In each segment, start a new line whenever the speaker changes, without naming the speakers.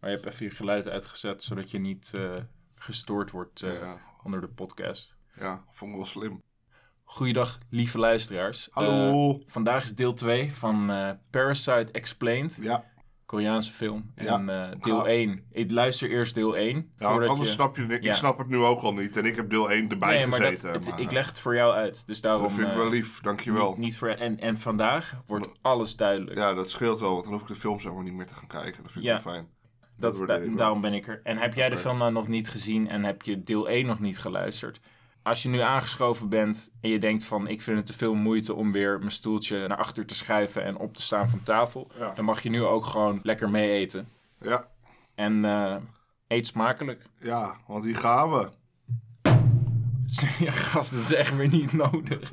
Maar je hebt even je geluid uitgezet, zodat je niet eh, gestoord wordt eh,
Ja.
onder de podcast.
Ja, vond ik wel slim.
Goeiedag, lieve luisteraars. Eh,
Hallo.
vandaag is deel 2 van eh, Parasite Explained,
ja,
Koreaanse film.
Ja.
En eh, deel
Ga-
1. Ik luister eerst deel 1.
ja want anders snap je het niet.
Ja.
Ik snap het nu ook al niet. En ik heb deel 1 erbij
Nee, maar dat,
gezeten.
het-
maar, eh,
ik leg het voor jou uit. Dus daarom.
dat vind ik
eh,
wel lief, dankjewel.
niet, niet voor, en, en vandaag wordt alles duidelijk.
Ja, dat scheelt wel, want dan hoef ik de film zomaar niet meer te gaan kijken. Dat vind ik
Ja.
wel fijn.
Dat is
wordt
da-
even.
daarom ben ik er. En heb jij de
Oké.
film nou nog niet gezien en heb je deel 1 nog niet geluisterd? Als je nu aangeschoven bent en je denkt van ik vind het te veel moeite om weer mijn stoeltje naar achter te schuiven en op te staan van tafel,
Ja.
dan mag je nu ook gewoon lekker mee eten.
Ja,
En eh, eet smakelijk.
ja, want hier gaan we.
ja, gast, dat is echt weer niet nodig.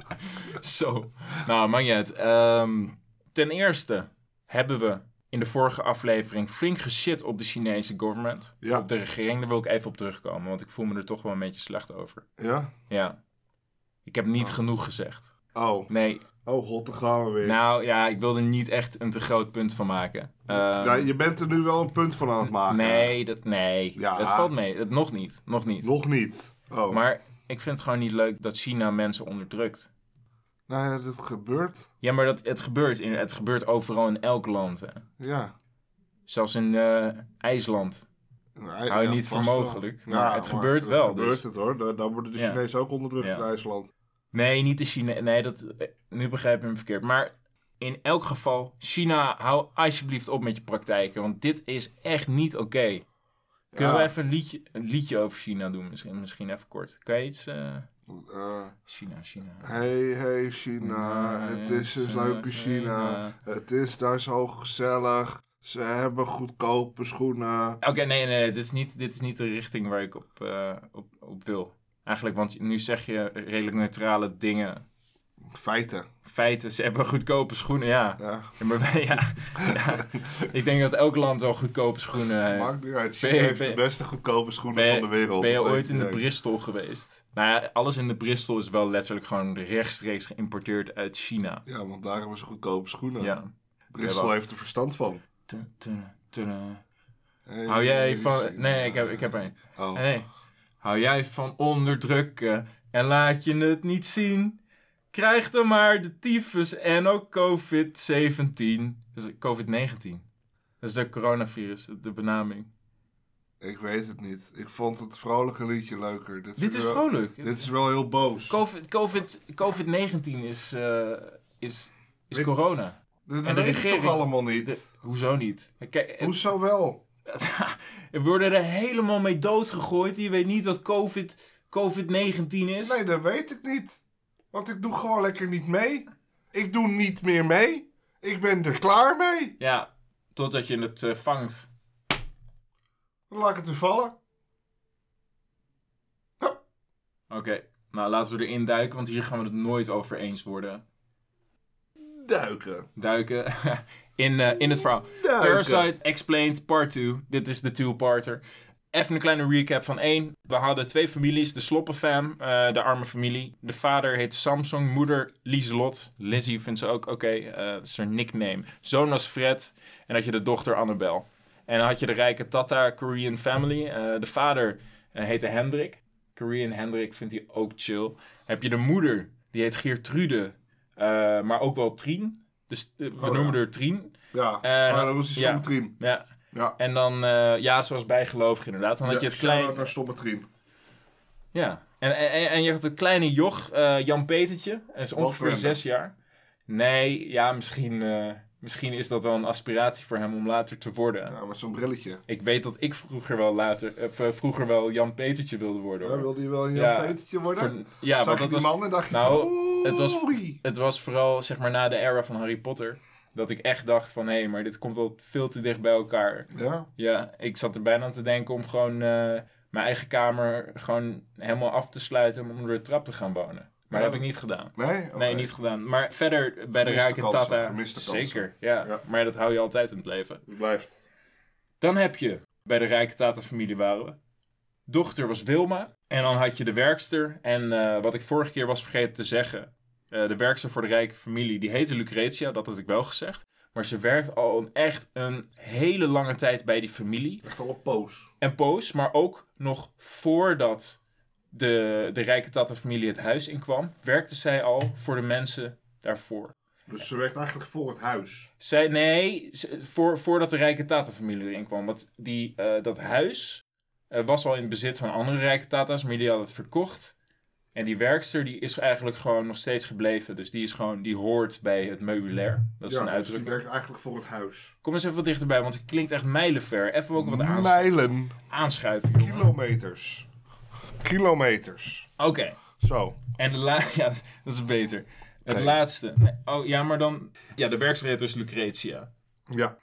Zo. Nou, maakt niet uit. Ehm, ten eerste hebben we in de vorige aflevering flink geshit op de Chinese government.
Ja.
Op de regering. Daar wil ik even op terugkomen, want ik voel me er toch wel een beetje slecht over.
Ja?
Ja. Ik heb niet genoeg gezegd.
Oh,
Nee,
oh god, dan gaan we weer.
nou ja, ik wil er niet echt een te groot punt van maken. Ehm,
Ja, je bent er nu wel een punt van aan het maken.
nee, dat, nee.
Ja.
dat valt mee. Dat, nog niet. Nog niet.
Nog niet. Oh.
Maar ik vind het gewoon niet leuk dat China mensen onderdrukt.
Nou ja, dat gebeurt.
Ja, maar dat, het, gebeurt in, het gebeurt overal in elk land. hè.
Ja.
Zelfs in eh, IJsland.
Nou,
Hou je
ja,
niet voor
vast wel.
mogelijk, maar het gebeurt
dat
wel,
gebeurt
dus.
het hoor. Daar, daar worden de
Ja.
Chinezen ook onderdrukt
Ja.
in IJsland.
Nee, niet de China. Nee, dat, eh, nu begrijp je hem verkeerd. Maar in elk geval, China, hou alsjeblieft op met je praktijken. Want dit is echt niet oké. Kunnen
Ja.
we even een liedje, een liedje over China doen? Misschien, misschien even kort. Kan je iets... eh,
Eh,
China, China.
Hey, hey China, het is een leuke
eh,
China. Het is daar zo gezellig. Ze hebben goedkope schoenen.
Oké, nee, nee, nee, dit is, niet, dit is niet de richting waar ik op, eh, op, op wil. Eigenlijk, want nu zeg je redelijk neutrale dingen.
Feiten.
feiten, ze hebben goedkope schoenen, ja.
Ja,
Ja, maar wij- ja, ja. Ik denk dat elk land wel goedkope schoenen heeft.
maakt niet uit.
Eh, ben
China
je-
heeft
ben-
de beste goedkope schoenen
ben-
van de wereld.
Ben je
Dat
ooit
heeft
in de
iedereen.
Bristol geweest? Nou ja, alles in de Bristol is wel letterlijk gewoon rechtstreeks geïmporteerd uit China.
Ja, want daar hebben ze goedkope schoenen.
Ja.
Bristol
wacht.
heeft er verstand van.
Tun, tun, tun, tun.
Hey,
Hou jij
hey,
van...
China.
Nee, ik heb, ik heb er een.
Oh.
Nee. Hou jij van onderdrukken en laat je het niet zien? Krijg dan maar de tyfus en ook COVID-17. Dus COVID-19. Dat is de coronavirus, de benaming.
Ik weet het niet. Ik vond het vrolijke liedje leuker. Dit, vind
Dit
ik
is
wel-
vrolijk.
Dit is wel heel boos.
COVID- COVID- COVID-19 is, eh, is, is
Ik-
corona.
Dit
en de
weet ik
regering-
toch allemaal niet?
De- hoezo niet? Kijk, eh,
Hoezo wel?
we worden er helemaal mee doodgegooid. Je weet niet wat COVID, COVID-19 is.
Nee, dat weet ik niet. Want ik doe gewoon lekker niet mee. Ik doe niet meer mee. Ik ben er klaar mee.
Ja, totdat je het eh, vangt.
Dan laat ik het weer vallen.
Oké, nou laten we erin duiken, want hier gaan we het nooit over eens worden.
Duiken.
Duiken in, eh, in het verhaal.
Duiken.
Parasite Explained Part 2. Dit is de two-parter. Even een kleine recap van één. We hadden twee families. De Sloppenfam, eh de arme familie. De vader heet Samsung, moeder Lieselot. Lizzie vindt ze ook oké, eh, dat is haar nickname. Zoon was Fred en had je de dochter Annabel. En dan had je de rijke Tata Korean family. Eh, de vader eh, heette Hendrik. Korean Hendrik vindt hij ook chill. Heb je de moeder, die heet Geertrude, eh, maar ook wel Trien. Dus eh, we
Oh, ja.
noemen haar Trien.
Ja,
Eh,
maar dan was die
ja.
Sommetrien.
Ja.
Ja.
En dan, eh, ja, zoals bijgelovig inderdaad. Dan had je het
shout-out
kleine.
naar Sommetrien.
Ja. En, en, en- en je had het kleine joch, eh, Jan Petertje. Hij is ongeveer
Wolfram.
zes jaar. Nee, ja, misschien, eh, misschien is dat wel een aspiratie voor hem om later te worden.
Ja, met zo'n brilletje.
Ik weet dat ik vroeger wel later, of, eh, vroeger wel Jan Petertje wilde worden.
Ja,
hoor.
wilde je wel een Jan
Ja.
Petertje worden?
Voor- ja,
Zag
want
je
dat
die
was,
man en dacht je
Nou,
van,
het was-
oei.
het was vooral zeg maar na de era van Harry Potter. Dat ik echt dacht van, hé, maar dit komt wel veel te dicht bij elkaar.
Ja,
Ja, ik zat er bijna aan te denken om gewoon eh, mijn eigen kamer gewoon helemaal af te sluiten en onder de trap te gaan wonen. Maar
Ja.
dat heb ik niet gedaan.
Oh, nee?
Nee, niet gedaan. Maar verder bij de
Gemiste
Rijke
kansen,
Tata.
gemiste kansen.
Zeker, ja.
Ja.
Maar dat hou je altijd in het leven.
Het blijft.
Dan heb je, bij de Rijke Tata familie waren we. Dochter was Wilma. En dan had je de werkster. En eh, wat ik vorige keer was vergeten te zeggen. eh, de werkster voor de rijke familie, die heette Lucretia. Dat had ik wel gezegd. Maar ze werkt al een, echt een hele lange tijd bij die familie.
Echt al een poos.
En Poos, maar ook nog voordat de, de rijke Tata-familie het huis inkwam, werkte zij al voor de mensen daarvoor.
Dus ze werkt eigenlijk voor het huis.
Zij, nee, ze- voor, voordat de rijke Tata-familie erin kwam. Want die, eh, dat huis eh, was al in bezit van andere rijke Tata's, maar die hadden het verkocht. En die werkster die is eigenlijk gewoon nog steeds gebleven. Dus die, is gewoon, die hoort bij het meubilair. Dat is
ja,
een
dus
uitdrukking.
die werkt eigenlijk voor het huis.
Kom eens even wat dichterbij, want het klinkt echt mijlenver. Even ook wat aans-
Mijlen.
aanschuiven, jongen. Oké.
Kilometers. Kilometers. Zo.
En de la- ja, dat is beter. Het
Oké.
laatste. Nee, oh, ja, maar dan... Ja, de werkzaamheid is Lucretia.
Ja,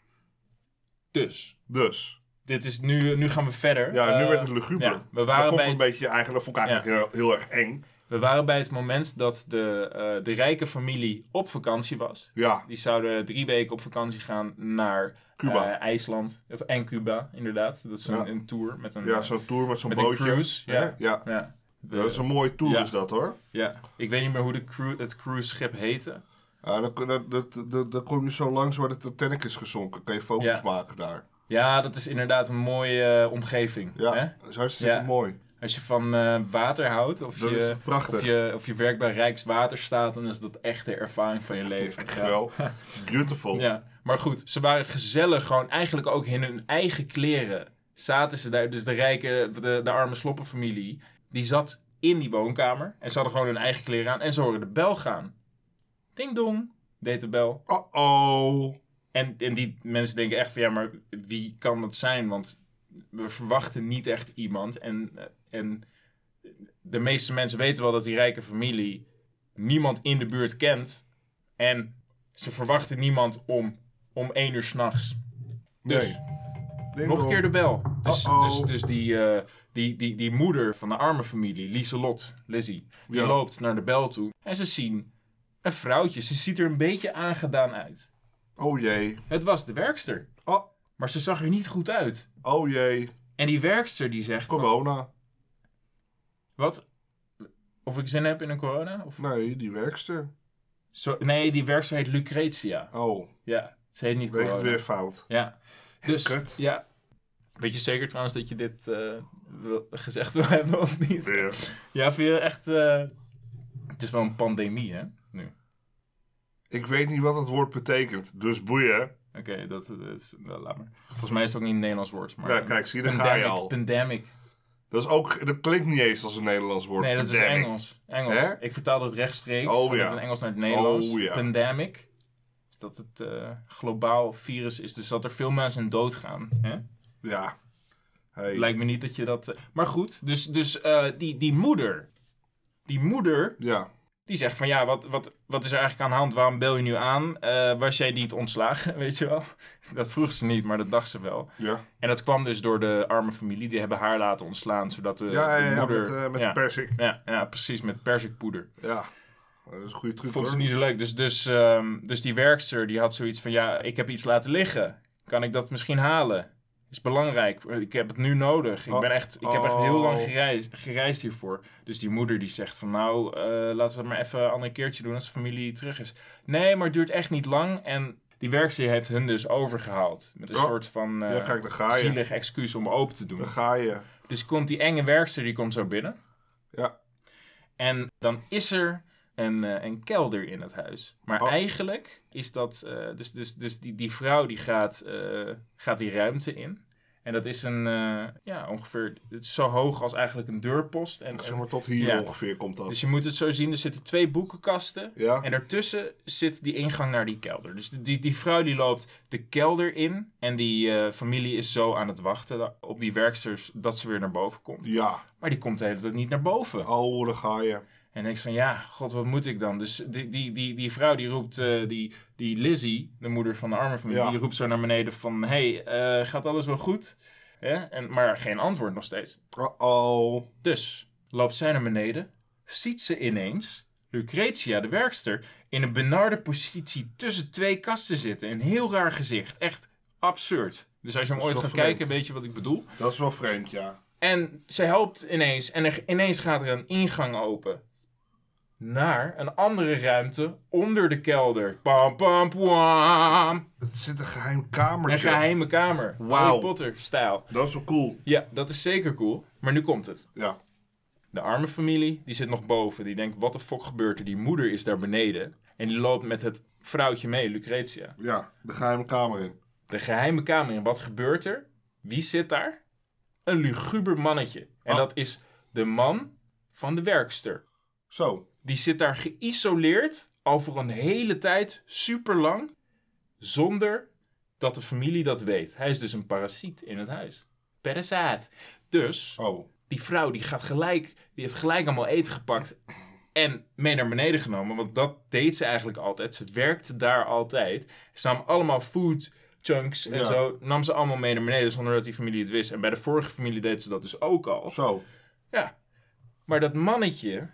Dus,
dus.
dit is nu... Nu gaan we verder.
Ja, nu
Eh,
werd het luguber.
ja, we,
dat
waren
vond
bij
ik een
het,
beetje eigenlijk, dat vond ik eigenlijk heel, heel erg eng.
we waren bij het moment dat de, eh, de rijke familie op vakantie was.
Ja,
Die zouden drie weken op vakantie gaan naar
Cuba.
eh, IJsland. Of, en Cuba, inderdaad. Dat is een,
Ja.
een tour met een...
ja
eh,
zo'n tour met zo'n
met een
bootje.
cruise,
Hè?
ja.
ja.
ja. De-
Dat is een mooie tour
Ja.
is dat hoor.
Ja, ik weet niet meer hoe de cru- het cruiseschip heette.
Ja, dan, dan, dan, dan, dan kom je zo langs waar de Titanic is gezonken. Kan je foto's
Ja.
maken daar.
Ja, dat is inderdaad een mooie eh, omgeving.
Ja,
Hè?
dat is hartstikke
Ja.
mooi.
Als je van eh, water houdt of
Dat
je,
is prachtig.
of, je, of je werkt bij Rijkswaterstaat, dan is dat echt de ervaring van je leven.
Echt wel. Beautiful.
Ja, maar goed, ze waren gezellig, gewoon eigenlijk ook in hun eigen kleren. Zaten ze daar, dus de rijke, de, de arme sloppenfamilie, die zat in die woonkamer. En ze hadden gewoon hun eigen kleren aan en ze hoorden de bel gaan. Ding dong, deed de bel.
Uh-oh.
En, en die mensen denken echt van ja, maar wie kan dat zijn? Want we verwachten niet echt iemand. En, en de meeste mensen weten wel dat die rijke familie niemand in de buurt kent. En ze verwachten niemand om, om één uur s'nachts. Dus
Nee. Ding
nog een
dong.
keer de bel. Dus,
Uh-oh.
dus, dus die, eh, die, die, die moeder van de arme familie, Lieselot, Lizzie, die
Ja.
loopt naar de bel toe. En ze zien een vrouwtje. Ze ziet er een beetje aangedaan uit.
Oh jee.
Het was de werkster.
Oh,
Maar ze zag er niet goed uit.
oh jee.
En die werkster die zegt... van,
Corona.
Wat? Of ik zin heb in een corona? Of...
Nee, die werkster.
Zo, nee, die werkster heet Lucretia.
Oh,
Ja, ze heet niet
weet ik het
corona.
weer fout.
Ja. Dus,
Kut.
ja. Weet je zeker trouwens dat je dit eh, wil- gezegd wil hebben of niet?
Weer.
Ja, vind je echt... eh, Het is wel een pandemie, hè? Nu.
Ik weet niet wat het woord betekent, dus boeien.
Oké, dat, dat is... nou, laat maar. Volgens mij is het ook niet een Nederlands woord. Maar,
Ja, kijk, zie je, daar ga je
Pandemic,
al.
Pandemic.
Dat, is ook, dat klinkt niet eens als een Nederlands woord.
Nee, dat is
Pandemic.
Engels. Engels.
Hè?
Ik vertaal het rechtstreeks
Oh,
van
ja.
het Engels naar het Nederlands.
Oh, ja.
Pandemic. Dus dat het eh, globaal virus is. Dus dat er veel mensen doodgaan. Hè?
Ja. Hey.
Lijkt me niet dat je dat... eh, Maar goed, dus, dus eh, die, die moeder... Die moeder,
Ja.
die zegt van ja, wat, wat, wat is er eigenlijk aan de hand? Waarom bel je nu aan? Eh, was jij niet ontslagen, weet je wel? Dat vroeg ze niet, maar dat dacht ze wel.
Ja,
En dat kwam dus door de arme familie. Die hebben haar laten ontslaan, zodat de,
ja, ja,
de
ja,
moeder...
met, eh, met
ja,
de persik.
ja, ja, precies, met perzikpoeder.
Ja. Dat is een goede truc
Vond ze
hoor.
niet zo leuk. Dus, dus, ehm, dus die werkster die had zoiets van: ja, ik heb iets laten liggen. Kan ik dat misschien halen? Is belangrijk. Ik heb het nu nodig. Ik,
Oh.
ben echt, ik heb echt heel
Oh.
lang gereisd, gereisd hiervoor. Dus die moeder die zegt van nou, eh, laten we het maar even een ander keertje doen als de familie terug is. Nee, maar het duurt echt niet lang. En die werkster heeft hun dus overgehaald. Met een
Oh.
soort van eh,
Ja, kijk, daar ga je.
zielig excuus om open te doen.
Daar ga je.
Dus komt die enge werkster, die komt zo binnen.
Ja.
En dan is er een, eh, een kelder in het huis. Maar
Oh.
eigenlijk is dat... eh, dus dus, dus die, die vrouw die gaat, eh, gaat die ruimte in. En dat is een... eh, ja, ongeveer... Het is zo hoog als eigenlijk een deurpost. En,
Zeg maar tot hier
Ja.
ongeveer komt dat.
dus je moet het zo zien. Er zitten twee boekenkasten.
Ja.
En daartussen zit die ingang naar die kelder. Dus die, die vrouw die loopt de kelder in. En die eh, familie is zo aan het wachten op die werksters dat ze weer naar boven komt.
Ja.
Maar die komt de hele tijd niet naar boven.
Oh, daar ga je.
En ik van, ja, god, wat moet ik dan? Dus die, die, die, die vrouw die roept, eh, die, die Lizzie, de moeder van de arme familie,
Ja.
die roept zo naar beneden van, hey, eh, gaat alles wel goed? Hè? En, maar geen antwoord nog steeds.
Uh-oh.
Dus loopt zij naar beneden, ziet ze ineens Lucretia, de werkster, in een benarde positie tussen twee kasten zitten. Een heel raar gezicht, echt absurd. Dus als je hem
Dat
ooit
is
gaat
wel
kijken,
vreemd.
weet je wat ik bedoel.
Dat is wel vreemd, ja.
En zij helpt ineens. En er, ineens gaat er een ingang open. naar een andere ruimte onder de kelder. Pam, pam, pam.
Het zit een geheim
Een
kamertje.
geheime kamer.
Wauw.
Harry Potter-stijl.
Dat is wel cool.
Ja, dat is zeker cool. Maar nu komt het.
Ja.
De arme familie, die zit nog boven. Die denkt, wat de fuck gebeurt er? Die moeder is daar beneden. En die loopt met het vrouwtje mee, Lucretia.
Ja, de geheime kamer in.
De geheime kamer. En wat gebeurt er? Wie zit daar? Een luguber mannetje. En
Ah.
dat is de man van de werkster.
Zo.
Die zit daar geïsoleerd al voor een hele tijd, super lang, zonder dat de familie dat weet. Hij is dus een parasiet in het huis. Parasaat. Dus
Oh.
die vrouw die gaat gelijk, die heeft gelijk allemaal eten gepakt en mee naar beneden genomen, want dat deed ze eigenlijk altijd. Ze werkte daar altijd. Ze nam allemaal food chunks en
Ja.
zo, nam ze allemaal mee naar beneden zonder dat die familie het wist. En bij de vorige familie deed ze dat dus ook al.
Zo.
Ja. Maar dat mannetje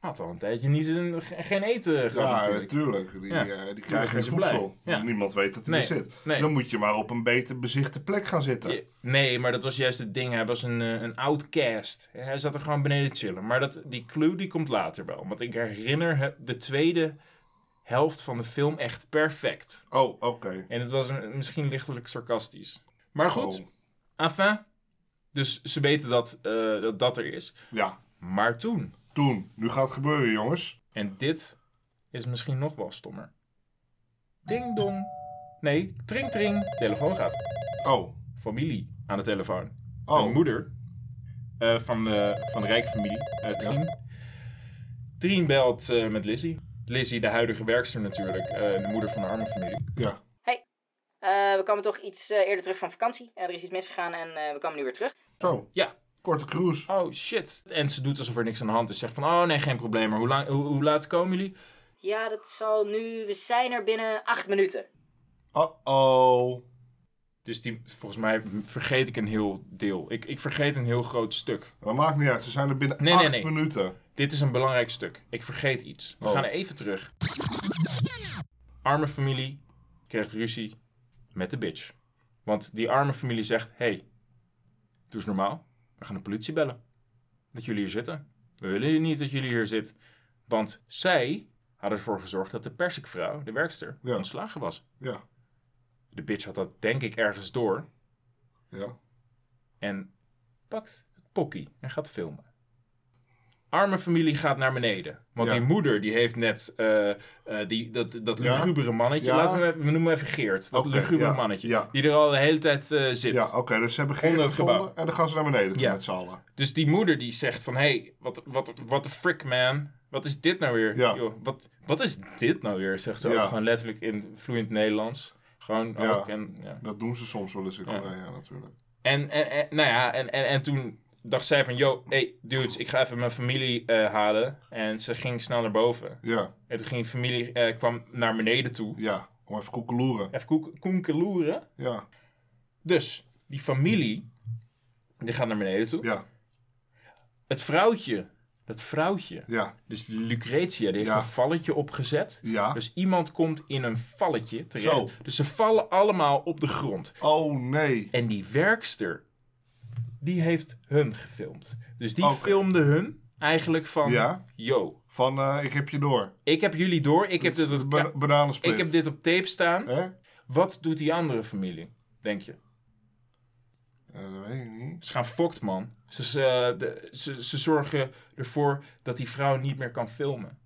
had al een tijdje niet zijn, ge- geen eten gehad
Ja,
natuurlijk.
natuurlijk. Die,
Ja.
eh, die
was
krijgt geen
niet zo blij.
voedsel.
Ja.
Niemand weet dat hij
Nee,
er zit.
nee.
Dan moet je maar op een beter bezichte plek gaan zitten.
Je- Nee, maar dat was juist het ding. Hij was een, eh, een outcast. Hij zat er gewoon beneden te chillen. Maar dat, die clue die komt later wel. Want ik herinner het- de tweede helft van de film echt perfect.
Oh, oké.
En het was een- misschien lichtelijk sarcastisch. Maar goed,
Oh.
enfin. Dus ze weten dat, eh, dat dat er is.
Ja,
Maar toen.
toen. Nu gaat het gebeuren, jongens.
En dit is misschien nog wel stommer. Ding dong. Nee, tring tring. Telefoon gaat.
Oh.
Familie aan de telefoon.
Oh.
Een moeder eh, van, de, van de rijke familie, eh Trien. Trien belt eh, met Lizzie. Lizzie, de huidige werkster natuurlijk, eh, de moeder van de arme familie.
Ja.
Eh, we kwamen toch iets eh, eerder terug van vakantie. en er is iets misgegaan en eh, we komen nu weer terug.
Zo.
Ja,
Korte cruise.
oh shit. En ze doet alsof er niks aan de hand is. Zegt van, oh nee, geen probleem, maar hoe, lang, hoe, hoe laat komen jullie?
Ja, dat zal nu... We zijn er binnen acht minuten.
Uh-oh.
Dus die, volgens mij vergeet ik een heel deel. Ik, ik vergeet een heel groot stuk.
Maar maakt niet uit. Ze zijn er binnen
Nee, nee,
acht
nee.
minuten.
Dit is een belangrijk stuk. Ik vergeet iets. We
Oh.
gaan even terug. Arme familie krijgt ruzie met de bitch. Want die arme familie zegt: hey, doe eens normaal. We gaan de politie bellen. Dat jullie hier zitten. We willen niet dat jullie hier zitten. Want zij hadden ervoor gezorgd dat de persikvrouw, de werkster,
Ja.
ontslagen was.
Ja.
De bitch had dat denk ik ergens door.
Ja.
En pakt het pokkie en gaat filmen. Arme familie gaat naar beneden. Want
Ja.
die moeder die heeft net eh, eh, die, dat, dat
Ja.
lugubere mannetje.
Ja.
Laten we, hem even- we noemen hem even Geert. Dat
Oké,
lugubere
ja,
mannetje.
ja.
Die er al de hele tijd eh, zit.
Ja, oké. Dus ze hebben
Onder
geen
het
gevonden.
gebouw.
En dan gaan ze naar beneden toe
Ja.
met z'n allen.
Dus die moeder die zegt van... Hé, hey, wat wat what the frick man. Wat is dit nou weer?
Ja.
Joh, wat, wat is dit nou weer? Zegt ze ook
Ja.
gewoon letterlijk in vloeiend Nederlands. Gewoon
Ja.
ook. En, ja.
Dat doen ze soms wel eens in
Ja.
Korea natuurlijk.
En, en, en- nou ja, en, en, en toen dacht zij van, yo, hey dudes, ik ga even mijn familie eh, halen. En ze ging snel naar boven.
Ja.
En toen ging de familie, eh, kwam naar beneden toe.
Ja. Om even koekeloeren.
Even koek- koenkeloeren.
Ja.
Dus, die familie, die gaat naar beneden toe.
Ja.
Het vrouwtje, dat vrouwtje,
Ja.
dus Lucretia, die heeft
Ja.
een valletje opgezet.
Ja.
Dus iemand komt in een valletje terecht.
Zo.
Dus ze vallen allemaal op de grond.
Oh, nee.
En die werkster, die heeft hun gefilmd. Dus die
Oké.
filmde hun eigenlijk van...
Ja.
Yo,
Van, eh, ik heb je door.
ik heb jullie door. Ik heb,
Dit is
dit,
de ba- bananensplit.
ik heb dit op tape staan.
Hè?
Wat doet die andere familie, denk je?
Eh, dat weet ik niet.
Ze gaan fokt, man. Ze, ze, de- ze, ze zorgen ervoor dat die vrouw niet meer kan filmen.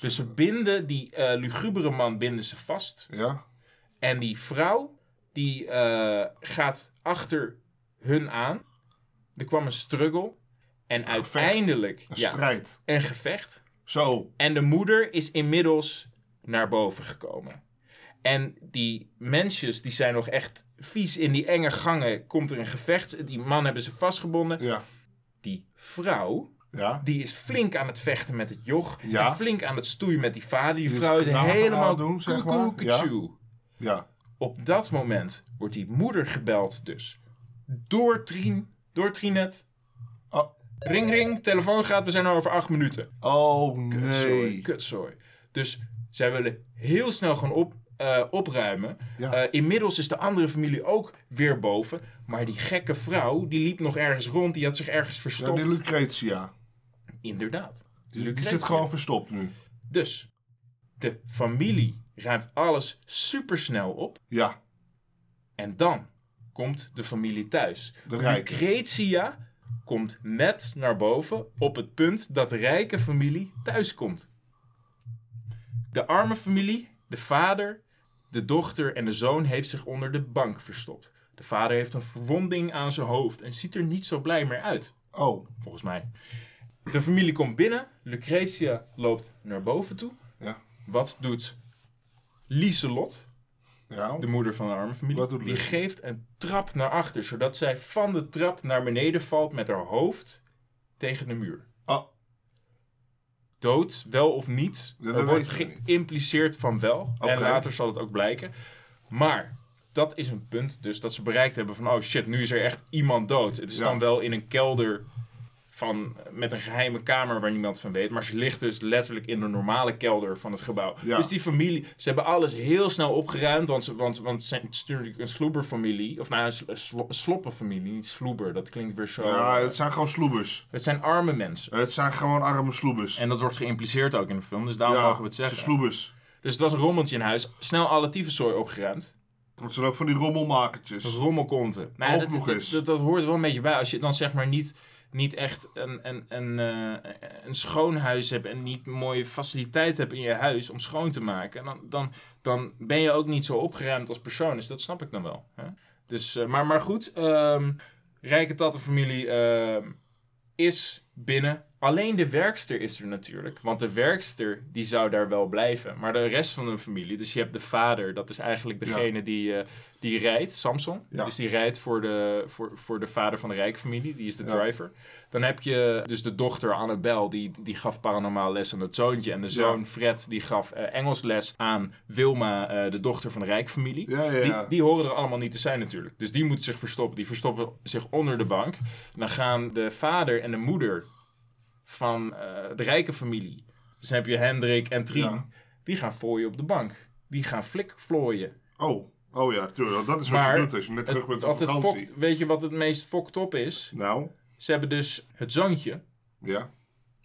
Dus ze binden die eh, lugubere man binden ze vast.
Ja.
En die vrouw, die eh, gaat achter hun aan. Er kwam een struggle. En uiteindelijk...
Een
ja,
strijd.
een gevecht.
Zo.
En de moeder is inmiddels naar boven gekomen. En die mensjes, die zijn nog echt vies in die enge gangen. Komt er een gevecht. Die man hebben ze vastgebonden.
Ja.
Die vrouw,
Ja.
die is flink aan het vechten met het joch.
Ja.
En flink aan het stoeien met die vader. Die
is
vrouw is
knagen aan het
helemaal
doen, zeg maar.
koekoekatjoe.
Ja.
Op dat moment wordt die moeder gebeld dus. Door Trien, door Trinet.
Oh,
Ring ring, telefoon gaat, we zijn er over acht minuten.
oh
Kutzooi,
nee.
kutzooi. Dus zij willen heel snel gaan op, eh, opruimen.
Ja.
Eh, inmiddels is de andere familie ook weer boven. Maar die gekke vrouw, die liep nog ergens rond. Die had zich ergens
Ja,
verstopt.
die Lucretia.
Inderdaad.
Die, die
Lucretia.
zit gewoon verstopt nu.
Dus de familie ruimt alles supersnel op.
Ja,
En dan komt de familie thuis.
de rijken.
Lucretia komt net naar boven op het punt dat de rijke familie thuiskomt. De arme familie, de vader, de dochter en de zoon heeft zich onder de bank verstopt. De vader heeft een verwonding aan zijn hoofd en ziet er niet zo blij meer uit,
Oh,
volgens mij. De familie komt binnen, Lucretia loopt naar boven toe.
ja.
Wat doet Lieselot?
ja.
De moeder van de arme familie.
Wat doet
die
Lucy?
geeft een trap naar achter, zodat zij van de trap naar beneden valt met haar hoofd tegen de muur.
Oh,
Dood, wel of niet.
Ja, dat
er wordt
weten we niet.
geïmpliceerd van wel. En
Oké.
later zal het ook blijken. Maar dat is een punt dus dat ze bereikt hebben van... oh shit, nu is er echt iemand dood. Het is
Ja.
dan wel in een kelder van, met een geheime kamer waar niemand van weet. Maar ze ligt dus letterlijk in de normale kelder van het gebouw.
Ja.
Dus die familie, ze hebben alles heel snel opgeruimd. Want, ze, want, want ze- het is natuurlijk een sloeberfamilie. Of nou, een, sl- een slo- een sloppenfamilie, niet sloeber. Dat klinkt weer zo...
Ah, ja, het zijn gewoon sloebers.
het zijn arme mensen.
Het zijn gewoon arme sloebers.
En dat wordt geïmpliceerd ook in de film, dus daarom
ja,
mogen we het zeggen.
ze sloebers.
Dus het was een rommeltje in huis. Snel alle tyfuszooi opgeruimd.
Want ze zijn ook van die rommelmakertjes.
Rommelkonten. Nou,
Ook
dat,
nog
dat,
eens.
dat, dat hoort wel een beetje bij. Als je dan zeg maar niet, niet echt een, een, een, eh, een schoon huis hebt... en niet mooie faciliteit hebt in je huis om schoon te maken... dan, dan, dan ben je ook niet zo opgeruimd als persoon. Dus dat snap ik dan wel. Hè? Dus, eh, maar, maar goed, ehm, rijke tattenfamilie ehm is binnen. Alleen de werkster is er natuurlijk. Want de werkster die zou daar wel blijven. Maar de rest van de familie, dus je hebt de vader, dat is eigenlijk degene die, eh, die rijdt, Samson.
Ja.
Dus die rijdt voor de, voor, voor de vader van de rijke familie, die is de
Ja.
driver. Dan heb je dus de dochter Annabel, die, die gaf paranormaal les aan het zoontje. En de zoon Fred, die gaf eh, Engels les aan Wilma, eh, de dochter van de rijke familie.
Ja, ja, ja.
Die, die horen er allemaal niet te zijn natuurlijk. Dus die moeten zich verstoppen. Die verstoppen zich onder de bank. Dan gaan de vader en de moeder van eh, de rijke familie. Dus dan heb je Hendrik en Trien.
Ja.
Die gaan fooien op de bank. Die gaan flikvlooien.
Oh, oh ja, tuurlijk. Dat is wat
Maar
je doet als je net terug bent van
altijd
vakantie.
fokt, weet je wat het meest fokt op is?
Nou,
Ze hebben dus het zoontje.
ja.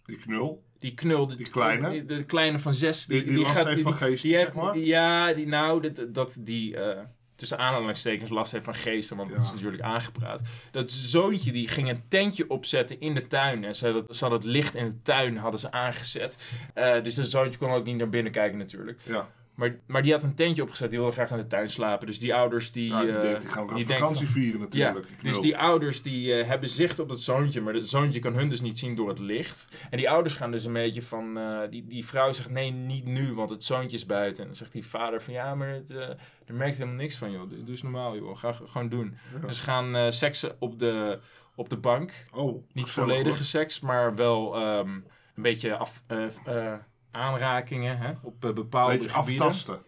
Die knul.
Die knul, de,
Die kleine?
de, de kleine van zes.
Die- die last heeft van geesten, zeg maar?
Ja, die, nou, dat, dat die eh, tussen aanhalingstekens last heeft van geesten, want dat
Ja.
is natuurlijk aangepraat. Dat zoontje, die ging een tentje opzetten in de tuin. En ze hadden, ze hadden het licht in de tuin hadden ze aangezet. Eh, dus dat zoontje kon ook niet naar binnen kijken natuurlijk.
Ja.
Maar, maar die had een tentje opgezet, die wilde graag in de tuin slapen. Dus die ouders die...
Ja, die
eh,
denkt, die gaan we
die
gaan
denken
vakantie
ja,
vieren natuurlijk. die knul.
dus die ouders die eh, hebben zicht op dat zoontje, maar dat zoontje kan hun dus niet zien door het licht. En die ouders gaan dus een beetje van, eh, die, die vrouw zegt nee, niet nu, want het zoontje is buiten. En dan zegt die vader van ja, maar het, eh, er merkt helemaal niks van joh, doe doe eens normaal joh, ga g- gewoon doen.
Ja.
Dus ze gaan eh, seksen op de, op de bank.
Oh,
Niet
gezellig,
volledige
hoor.
seks, maar wel ehm, een beetje af, eh, eh, aanrakingen hè, op eh, bepaalde
Beetje
gebieden.
aftasten.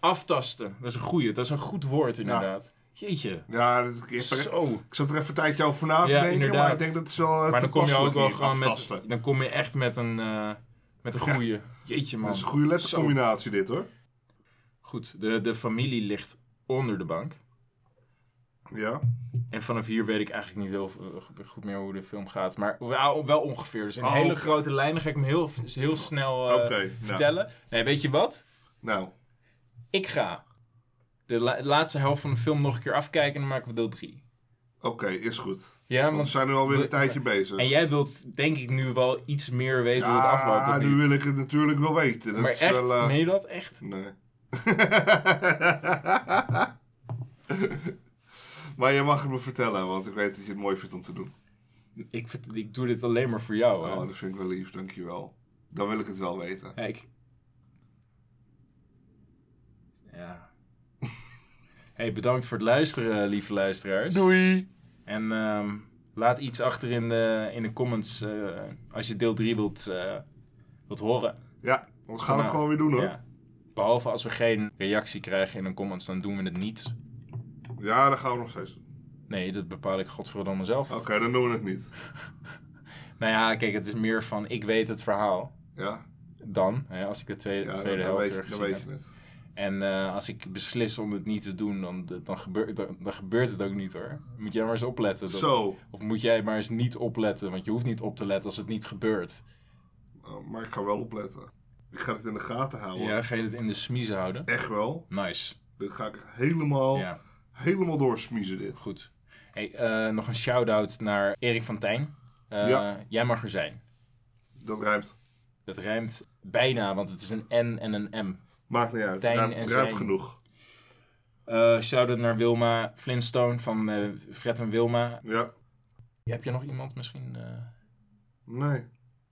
Aftasten, dat is een goeie, dat is een goed woord inderdaad. Jeetje,
Ja, ik, heb er-
zo.
ik zat er even een tijdje over na te
Ja,
denken,
inderdaad.
maar ik denk dat het wel eh,
Maar dan kom je ook
toepasselijk
wel
is,
gewoon met.
aftasten.
Dan kom je echt met een. eh, met een goede. Jeetje, man.
Dat is een goede lettercombinatie dit hoor.
Goed, de, de familie ligt onder de bank.
Ja.
En vanaf hier weet ik eigenlijk niet heel eh, goed meer hoe de film gaat. Maar wel, wel ongeveer. Dus in
Oh.
hele grote lijnen ga ik hem heel, heel snel eh,
Oké, nou.
vertellen. Nee, weet je wat?
Nou,
Ik ga de la- laatste helft van de film nog een keer afkijken en dan maken we deel 3.
oké, is goed.
Ja,
Want we
want.
zijn nu alweer
we-
een tijdje bezig.
En jij wilt denk ik nu wel iets meer weten hoe het afloopt.
ja,
of
nu
niet?
wil ik het natuurlijk wel weten. Dat
maar
is
echt,
wel, eh,
meen je dat? Echt?
Nee. maar je mag het me vertellen, want ik weet dat je het mooi vindt om te doen.
Ik, vind- ik doe dit alleen maar voor jou. hè.
Oh, dat vind ik wel lief, dankjewel. Dan wil ik het wel weten.
Ja, ik... Ja. hey, bedankt voor het luisteren, eh, lieve luisteraars.
Doei!
En ehm, laat iets achter in de, in de comments eh, als je deel 3 wilt, eh, wilt horen.
Ja, we gaan het
Nou,
gewoon weer doen hoor. Ja,
Ja. Behalve als we geen reactie krijgen in de comments, dan doen we het niet.
dat gaan we nog steeds doen.
Nee, dat bepaal ik godverdomme zelf.
Oké, dan doen we het niet.
Nou ja, kijk, het is meer van ik weet het verhaal.
Ja,
Dan, hè, als ik de tweede,
ja
tweede
dan, dan
helft
weet,
weer
je, dan
gezien
weet
heb.
je het.
En eh, als ik beslis om het niet te doen, dan, dan, gebeurt, dan, dan gebeurt het ook niet hoor. Moet jij maar eens opletten. dat-
Zo,
Of moet jij maar eens niet opletten, want je hoeft niet op te letten als het niet gebeurt.
Uh, maar ik ga wel opletten. Ik ga het in de gaten houden.
Ja, ga je het in de smiezen houden?
Echt wel.
Nice.
Dit ga ik helemaal,
Ja,
helemaal doorsmiezen dit.
goed. Hey, eh, nog een shout-out naar Erik van Tijn. Eh,
Ja.
Jij mag er zijn.
Dat rijmt.
Dat rijmt bijna, want het is een N en een M.
Maakt niet uit.
Tijn
Rijmt,
en
rijmt
zijn.
genoeg.
Eh shout-out naar Wilma Flintstone van eh, Fred en Wilma.
Ja.
Heb je nog iemand misschien? eh?
Nee.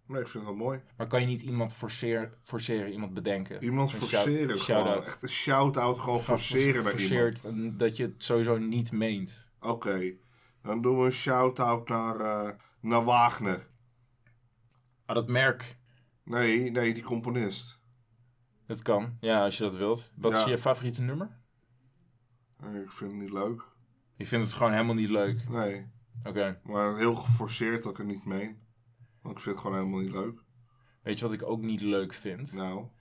Nee, ik vind dat mooi.
Maar kan je niet iemand forceer, forceren, iemand bedenken?
Iemand
Een
forceren
shout-
gewoon.
shout-out.
Echt een shout-out gewoon forceren naar iemand.
Forceert, eh, Dat je het sowieso niet meent.
Oké. Dan doen we een shout-out naar, eh, naar Wagner.
Ah, dat merk.
Nee, nee, die componist.
Dat kan, ja, als je dat wilt. Wat is
Ja.
je favoriete nummer?
Nee, ik vind het niet leuk.
Ik vind het gewoon helemaal niet leuk.
Nee.
Oké.
Maar heel geforceerd dat ik het niet meen. Want ik vind het gewoon helemaal niet leuk.
Weet je wat ik ook niet leuk vind?
Nou,